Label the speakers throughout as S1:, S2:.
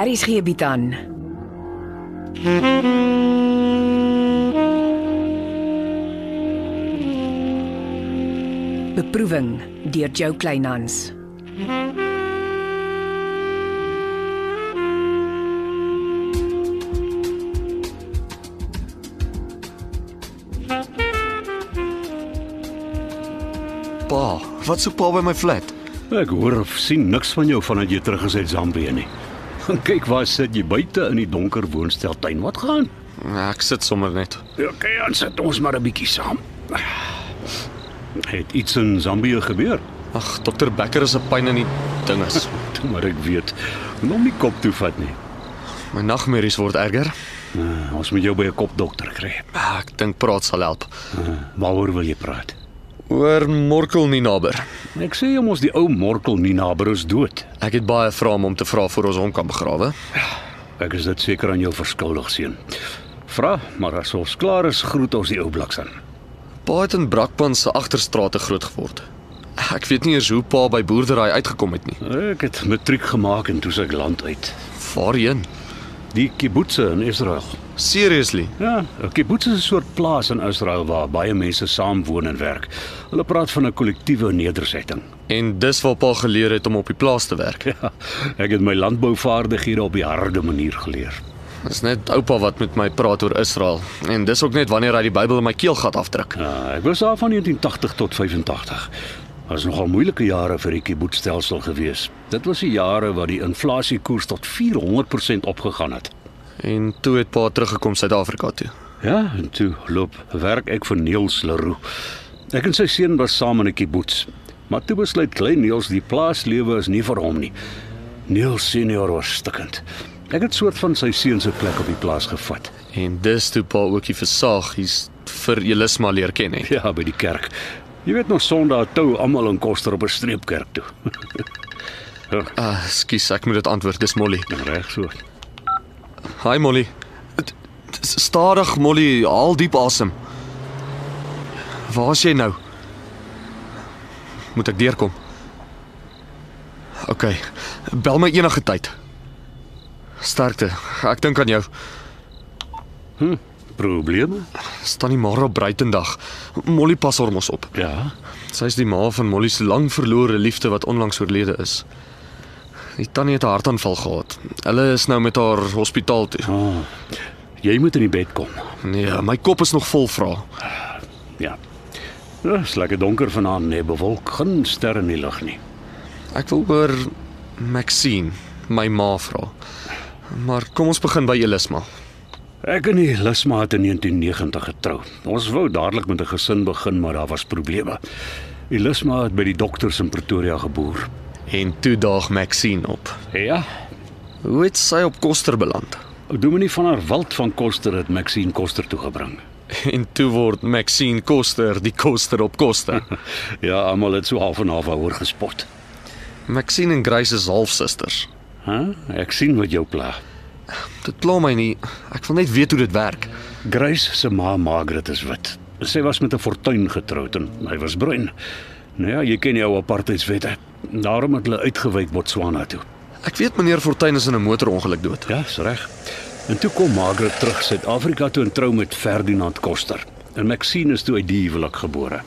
S1: Aries gee bied aan. Beproeving deur Jo Kleinhans.
S2: Pa, wat soek pa by my flat?
S3: Ek hoor of sien niks van jou vandat jy terug is uit Zambië nie. Gaan kyk waar sit jy buite in die donker woonsteltuin. Wat gaan?
S2: Ek sit sommer net.
S3: Ja, okay, ons sit ons maar 'n bietjie saam. Het iets in Zambië gebeur?
S2: Ag, dokter Becker is 'n pyn in die dinges.
S3: Toe maar ek weet. Moet hom nie kop toe vat nie.
S2: My nagmerries word erger.
S3: Uh, ons moet jou by 'n kopdokter kry.
S2: Ek dink praat sal help.
S3: Uh, waaroor wil jy praat?
S2: Oor Morkel nie naber.
S3: Ek sê hom ons die ou Morkel Nina Bruce dood.
S2: Ek het baie vrae om hom te vra voor ons hom kan begrawe.
S3: Ek is dit seker aan jou verskuldig seun. Vra, maar as ons klaar is, groet ons die ou bliks aan.
S2: Pa het in Brakpan se agterstrate groot geword. Ek weet nie eens hoe pa by boerdery uitgekom het nie.
S3: Ek het matriek gemaak en toe se ek land uit.
S2: Waarheen?
S3: Die kibbutze in Israel.
S2: Seriously?
S3: Ja, 'n kibbutz is 'n soort plaas in Israel waar baie mense saam woon en werk. Hulle praat van 'n kollektiewe nedersetting.
S2: En dis waar pa geleer het om op die plaas te werk.
S3: Ja, ek het my landbouvaardighede op die harde manier geleer.
S2: Dis net oupa wat met my praat oor Israel en dis ook net wanneer hy die Bybel in my keelgat afdruk.
S3: Ja, ek was daar van 1980 tot 85. Was nogal moeilike jare vir die kibbutzstelsel gewees. Dit was die jare wat die inflasiekoers tot 400% opgegaan het.
S2: En toe het pa teruggekom Suid-Afrika toe.
S3: Ja, en toe loop werk ek vir Neels Leroux. Ek en sy seun was saam in 'n kibbutz. Maar toe besluit klein Neels die plaaslewe is nie vir hom nie. Neels senior was stikkend. Ek het soort van sy seun se plek op die plaas gevat.
S2: En dis toe pa ook die versaagies vir Elisma leer ken het.
S3: Ja, by die kerk. Jy weet nog Sondag tou almal in Koster op 'n streepkerk toe.
S2: Ah, skus, ek moet dit antwoord. Dis Molly.
S3: Ja, Reg so.
S2: Hi Molly. Het- het is Stadig Molly, haal diep asem. Waar's jy nou? Moet ek deurkom? OK. Bel my enige tyd. Sterkte. Ek dink aan jou.
S3: Probleme?
S2: Staan nie maar op Breitendag. Molly pas hormos op.
S3: Ja.
S2: Sy's die ma van Molly se lang verlore liefde wat onlangs oorlede is. Die tannie het 'n hartaanval gehad. Hulle is nou met haar hospitaal toe.
S3: Oh, jy moet in die bed kom.
S2: Nee, my kop is nog vol vrae.
S3: Ja. Dit is lekker donker vanaand, nee, bewolk, geen sterre in die lug nie.
S2: Ek wil oor Maxine, my ma vra. Maar kom ons begin by Elisma.
S3: Ek en die Lisma het in 1990 getrou. Ons wou dadelik met 'n gesin begin, maar daar was probleme. Die Lisma het by die dokters in Pretoria geboer.
S2: En toe daag Maxine op.
S3: Ja.
S2: Hoe het sy op Koster beland?
S3: Dominee van haar Wald van Koster het Maxine Koster toegebring.
S2: En toe word Maxine Koster die Koster op Koster.
S3: Ja, almal het so half en half oor gespot.
S2: Maxine en Grace is halfsusters.
S3: Hæ? Huh? Ek sien wat jou pla.
S2: Dit pla my nie. Ek wil net weet hoe dit werk.
S3: Grace se ma Margaret is wit. Sy was met 'n fortuin getroud en hy was bruin. Nou ja, jy ken jou apartheidswette. Daarom het hulle uitgewyk Botswana toe.
S2: Ek weet meneer Fortuin is in 'n motorongeluk dood.
S3: Ja, is reg. En toe kom Margaret terug Suid-Afrika toe en trou met Ferdinand Koster. En Maxine is toe uit die huwelik gebore.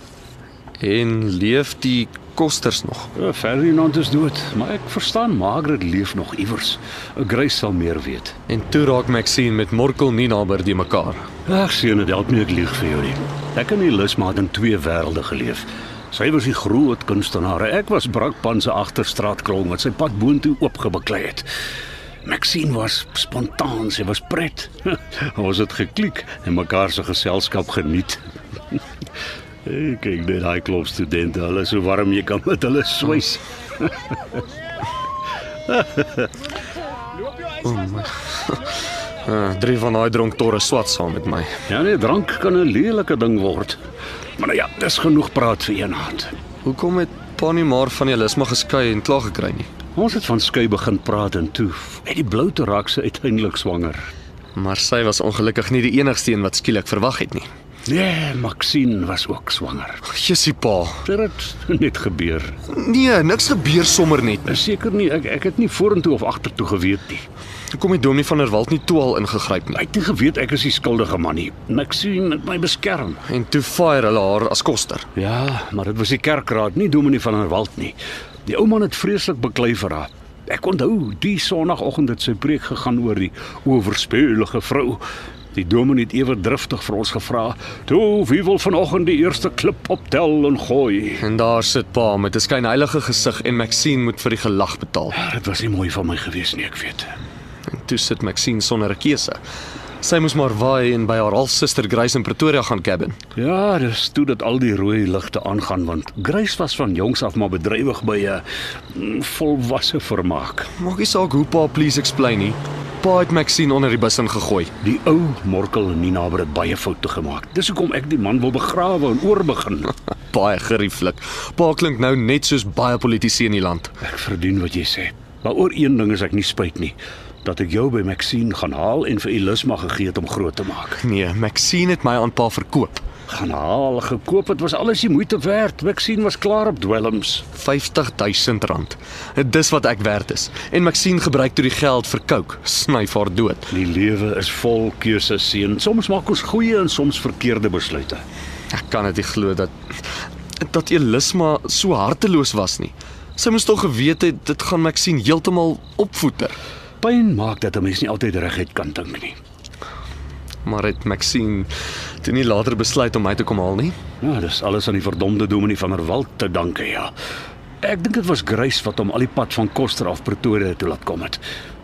S2: En leef die Kosters nog.
S3: Ja, Ferdinand is dood, maar ek verstaan Margaret leef nog iewers. Grace sal meer weet.
S2: En toe raak Maxine met Morkel Nina by die mekaar.
S3: Ag seun, dit help nie ek lieg vir jou nie. Ek en Elis maar in twee wêrelde geleef. Sy was die groot kunstenaar. Ek was Brakpan se agterstraatklong wat sy pad boontoe oopgebeklei het. Maxine was spontaan, sy was pret. Ons het geklik en mekaar se geselskap geniet. Hey, kyk net daai klop studente, hulle is so warm jy kan met hulle swys.
S2: Uh, drie van daai dronk torre swat saam met my.
S3: Ja nee, drank kan 'n lelike ding word. Maar nou ja, dis genoeg praat vir eendag.
S2: Hoekom het pa nie maar van Elisma geskei en klaar gekry nie?
S3: Ons het van skei begin praat en toe uit die blou te raak sy uiteindelik swanger.
S2: Maar sy was ongelukkig nie die enigste een wat skielik verwag het nie.
S3: Nee, Maxine was ook swanger.
S2: Jessie pa.
S3: Dit het net gebeur.
S2: Nee, niks gebeur sommer net.
S3: Seker nie ek ek het nie vorentoe of agtertoe geweet nie.
S2: Hoekom het Dominee van der Walt nie toe al ingegryp
S3: Hy
S2: nie?
S3: het nie geweet ek is die skuldige man nie. En ek sien dit my beskerm.
S2: En toe fire hulle haar as koster.
S3: Ja, maar dit was die kerkraad, nie dominee van der Walt nie. Die ou man het vreeslik beklei vir haar. Ek onthou die sonoggend het sy preek gegaan oor die oorspelige vrou. Die dominee het ewe driftig vir ons gevra: "Toe, wie wil vanoggend die eerste klip optel en gooi?"
S2: En daar sit pa met 'n skynheilige gesig en Maxine moet vir die gelag betaal.
S3: Ja, Dit was nie mooi van my gewees nie, ek weet.
S2: En toe sit Maxine sonder 'n keuse. Sy moes maar waai en by haar halfsuster Grace in Pretoria gaan cabin.
S3: Ja, dis toe dat al die rooi ligte aangaan want Grace was van jongs af maar bedrywig by 'n mm, volwasse vermaak.
S2: Maak nie saak hoe pa please explain nie. Pa het Maxine onder die bus ingegooi.
S3: Die ou Morkel en Nina het baie foute gemaak. Dis hoekom ek die man wil begrawe en oorbegin.
S2: Baie gerieflik. Pa klink nou net soos baie politici in die land.
S3: Ek verdien wat jy sê. Maar oor een ding is ek nie spyt nie. Dat ek jou by Maxine gaan haal en vir Elisma gegee het om groot te maak.
S2: Nee, Maxine het my aan pa verkoop.
S3: Gaan haal, gekoop, dit was alles die moeite werd. Maxine was klaar op dwelms.
S2: R50000. rand. Dis wat ek werd is. En Maxine gebruik toe die geld vir coke, snyf haar dood.
S3: Die lewe is vol keuses seën. Soms maak ons goeie en soms verkeerde besluite.
S2: Ek kan dit nie glo dat dat Elisma so harteloos was nie. Sy moes tog geweet het dit gaan Maxine heeltemal opvoeter.
S3: Pyn maak dat 'n mens nie altyd reguit kan dink nie.
S2: Maar het Maxine toe nie later besluit om my te kom haal nie.
S3: Ja, dis alles aan die verdomde dominee van der Walt te danke, ja. Ek dink dit was Grace wat hom al die pad van Koster af Pretoria toe laat kom het.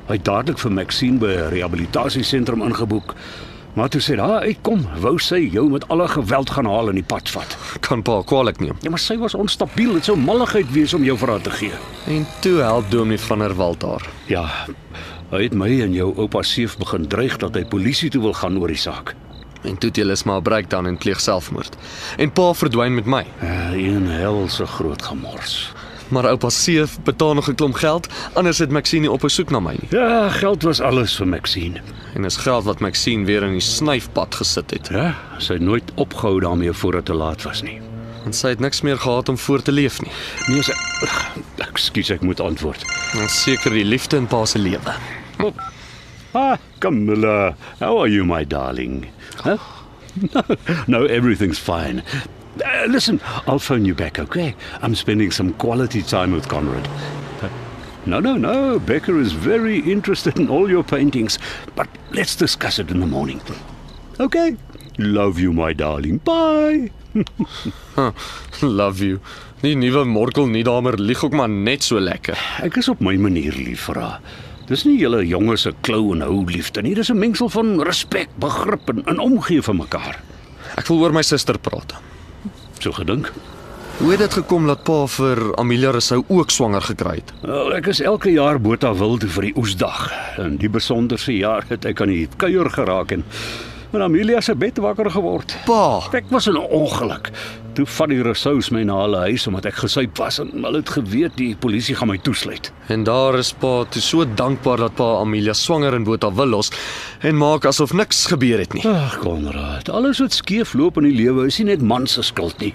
S3: Hy het dadelik vir Maxine by 'n rehabilitasiesentrum ingeboek. Maar toe sê hy, "Ek kom, wou sy jou met alle geweld gaan haal en die pad vat."
S2: Kan pa kwaliek neem.
S3: Ja, maar sy was onstabiel, dit sou malligheid wees om jou vir haar te gee.
S2: En toe help Dominee van der Walt haar.
S3: Ja. Hy het my en jou oupa Seef begin dreig dat hy polisie toe wil gaan oor die saak.
S2: En toe het Elisma 'n breakdown en pleeg selfmoord. En pa verdwyn met my.
S3: Uh, een helse groot gemors.
S2: Maar oupa Seef betaal nog 'n klomp geld, anders het Maxine nie op 'n soek na my nie.
S3: Ja, geld was alles vir Maxine.
S2: En dis geld wat Maxine weer in die snyfpad gesit het.
S3: Ja, sy het nooit opgehou daarmee voordat dit te laat was nie.
S2: Want sy het niks meer gehad om voort te leef nie.
S3: Nee, sy Ekskuus, ek moet antwoord.
S2: En seker die liefde in pa se lewe.
S3: Ah, Camilla, how are you my darling? Huh? no, everything's fine. Uh, listen, I'll phone you back, okay? I'm spending some quality time with Conrad. Uh, No, no, no. Becker is very interested in all your paintings, but let's discuss it in the morning. Okay. Love you, my darling. Bye.
S2: Huh, love you. Die nuwe Morkel Niedamer lieg ook maar net so lekker.
S3: Ek is op my manier lief vir haar. Dis nie julle jonges se klou en hou liefde nie, dis 'n mengsel van respek, begrip en, en omgee vir mekaar.
S2: Ek wil oor my suster praat.
S3: So gedink.
S2: Hoe het dit gekom dat pa vir Amelia Rousseau ook swanger gekry het?
S3: Wel, ek is elke jaar Botha Wilde vir die oesdag. In die besonderse jaar het ek aan die kuier geraak en en Amelia se bed wakker geword.
S2: Pa,
S3: Ek was in 'n ongeluk. Toe vat die resous my na hulle huis omdat ek gesuip was en hulle het geweet die polisie gaan my toesluit.
S2: En daar is pa toe so dankbaar dat pa Amelia swanger in Botha wil los en maak asof niks gebeur het nie.
S3: Ag Konrad, alles wat skeefloop in die lewe is nie net man se skuld nie.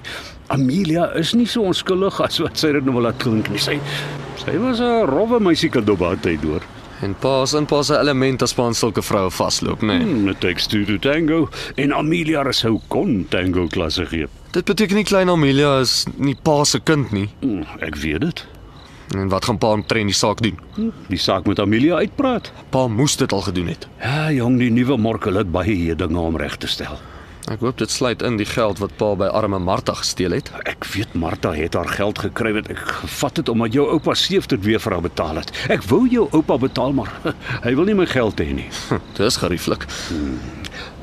S3: Amelia is nie so onskuldig as wat sy dit nou wil laat klink nie. Sy sy was 'n rowwe meisiekie dop haar tyd deur.
S2: En pa is in pa se element as pa aan sulke vroue vasloop, nê. Nee.
S3: Hmm, it takes two to tango en Amelia Rousseau kon tango klasse gee.
S2: Dit beteken nie klein Amelia is nie pa se kind nie.
S3: Hmm, ek weet dit.
S2: En wat gaan pa omtrent die saak doen?
S3: Hmm, die saak met Amelia uitpraat.
S2: Pa moes dit al gedoen het.
S3: Ja, jong, die nuwe Morkel het baie dinge om reg te stel.
S2: Ek hoop dit sluit in die geld wat pa by arme Martha gesteel het.
S3: Ek weet Martha het haar geld gekry wat ek gevat het omdat jou oupa seef dit weer vir haar betaal het. Ek wou jou oupa betaal maar hy wil nie my geld hê nie.
S2: Hm, dis gerieflik.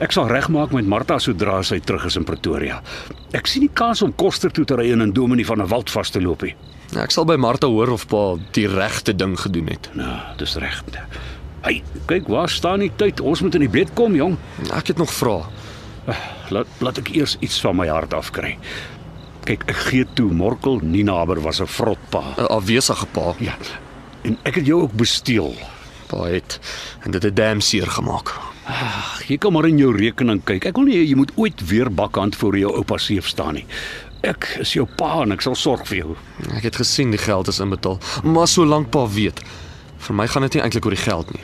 S3: Ek sal regmaak met Martha sodra sy terug is in Pretoria. Ek sien nie kans om Koster toe te ry en in Dominee van der Walt vas te loop nie.
S2: Ek sal by Martha hoor of pa die regte ding gedoen het.
S3: Nou, dis reg. Hey, kyk waar staan die tyd? Ons moet in die bed kom, jong.
S2: Ek het nog vrae.
S3: Laat laat ek eers iets van my hart afkry. Kyk, ek gee toe Morkel Ninaber was 'n vrotpa.
S2: 'n Afwesige pa,
S3: Ja. En ek het jou ook besteel.
S2: pa het en dit het damn seer gemaak.
S3: Ag, jy kan maar in jou rekening kyk. Ek wil nie hê jy moet ooit weer bakhand voor jou oupa seef staan nie. Ek is jou pa en ek sal sorg vir jou.
S2: Ek het gesien die geld is inbetaal, maar solank pa weet, vir my gaan dit nie eintlik oor die geld nie.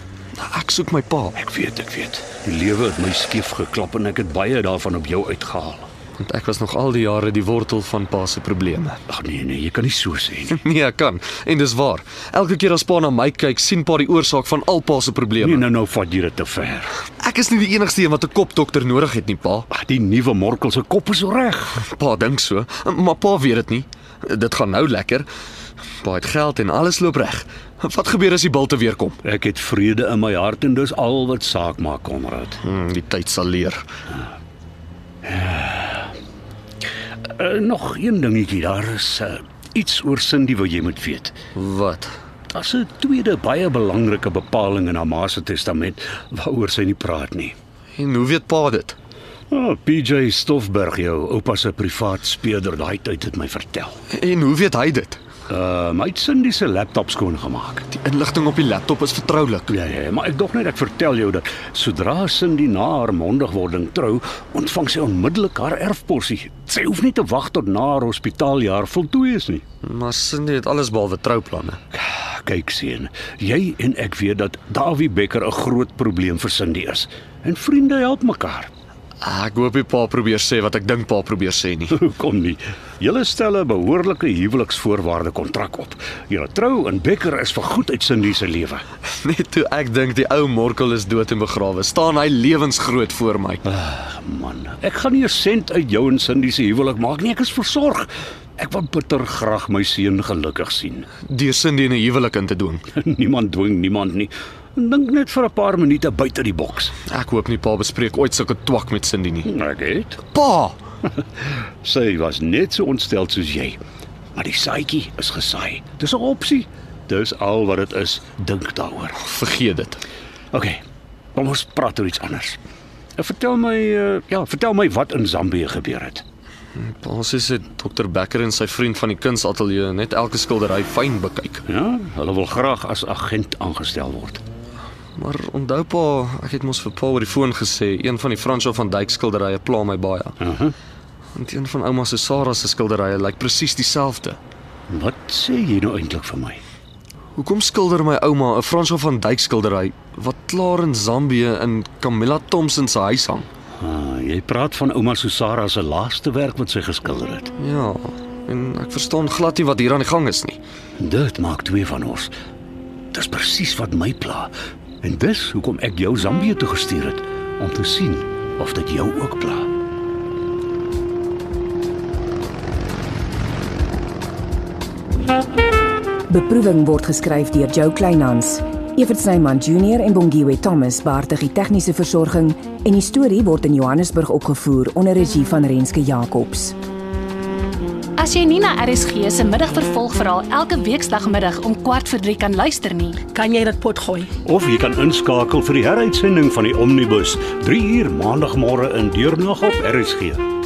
S2: Ek soek my pa,
S3: Ek weet, ek weet. Die lewe het my skeef geklap en ek het baie daarvan op jou uitgehaal.
S2: want ek was nog al die jare die wortel van pa se probleme.
S3: Ag nee nee, jy kan nie so sê nie.
S2: Nee, ek kan. En dis waar. Elke keer as pa na my kyk, sien pa die oorsaak van al pa se
S3: Nee,
S2: probleme.
S3: nou nou vat jy dit te ver.
S2: Ek is nie die enigste een wat 'n kopdokter nodig het nie, pa.
S3: Ag, die nuwe Morkel se kop is reg.
S2: Pa dink so, maar pa weet dit nie. Dit gaan nou lekker. Pa het geld en alles loop reg. Wat gebeur as die bilte weer kom?
S3: Ek het vrede in my hart en dis al wat saak maak, Konrad.
S2: Hmm, die tyd sal leer.
S3: Uh, nog een dingetjie, daar is uh, iets oor Cindy wat jy moet weet.
S2: Wat?
S3: Daar's 'n tweede baie belangrike bepaling in haar ma se testament waaroor sy nie praat nie.
S2: En hoe weet pa dit?
S3: Oh, PJ Stoffberg, jou oupa se privaat speurder, daai tyd het my vertel.
S2: En hoe weet hy dit?
S3: Uh, my het Cindy se laptop skoongemaak.
S2: Die inligting op die laptop is vertroulik.
S3: Ja, ja, ja, maar ek dog net ek vertel jou dat sodra Cindy na haar mondigwording trou, ontvang sy onmiddellik haar erfporsie. Sy hoef nie te wag tot na haar hospitaaljaar voltooi is nie.
S2: Maar Cindy het alles behalwe trouplanne.
S3: Kyk seun, jy en ek weet dat Dawie Becker 'n groot probleem vir Cindy is. En vriende help mekaar.
S2: Ek hoop nie pa probeer sê wat ek dink pa probeer sê nie.
S3: Kom nie. Julle stel 'n behoorlike huweliksvoorwaarde kontrak op. Julle trou en Becker is vir goed uit Cindy se lewe.
S2: Net toe ek dink die ou Morkel is dood en begrawe, staan hy lewensgroot voor my.
S3: Ag man, ek gaan nie 'n sent uit jou en Cindy se huwelik maak nie. Ek is versorg. Ek wil bitter graag my seun gelukkig sien.
S2: Deur Cindy 'n huwelik in te dwing.
S3: niemand dwing niemand nie. Dink net vir 'n paar minute buite die boks.
S2: Ek hoop nie pa bespreek ooit sulke twak met Cindy nie.
S3: Ek het.
S2: Pa,
S3: Sy was net so ontstel soos jy. Maar die saadjie is gesaai. Dis 'n opsie. Dis al wat dit is. Dink daaroor.
S2: vergeet dit.
S3: OK. Kom ons praat oor iets anders. Eh, Vertel my eh, ja, vertel my wat in Zambië gebeur het.
S2: Pa sê sy dokter Becker en sy vriend van die kunsateljee net elke skildery fyn bekyk.
S3: Ja, hulle wil graag as agent aangestel word.
S2: Maar onthou pa, ek het mos vir pa oor die foon gesê, een van die Fransjo van Dyk skilderye pla my baie.
S3: Mhm. Uh -huh.
S2: Want een van ouma se Sarah se skilderye lyk presies dieselfde.
S3: Wat sê jy nou eintlik vir my?
S2: Hoekom skilder my ouma 'n Fransjo van Dyk skildery wat klaar in Zambië in Camilla Thompson se huis hang?
S3: Ah, jy praat van ouma Susara se laaste werk wat sy geskilder het.
S2: Ja, en ek verstaan glad nie wat hier aan die gang is nie.
S3: Dit maak twee van ons. Dis presies wat my pla. En dis hoekom ek jou Zambië toe gestuur het om te sien of dit jou ook pla.
S1: Beproeving word geskryf deur Jo Kleinhans. Evert Snyman Junior en Bongwe Thomas baartig die tegniese versorging en die storie word in Johannesburg opgevoer onder regie van Renske Jacobs.
S4: As jy Nina RSG se middagvervolgverhaal elke weekdagmiddag om 14:30 kan luister nie,
S5: Kan jy dit pot gooi?
S3: Of jy kan inskakel vir die heruitsending van die Omnibus 3 uur maandagmôre in deurnag op RSG.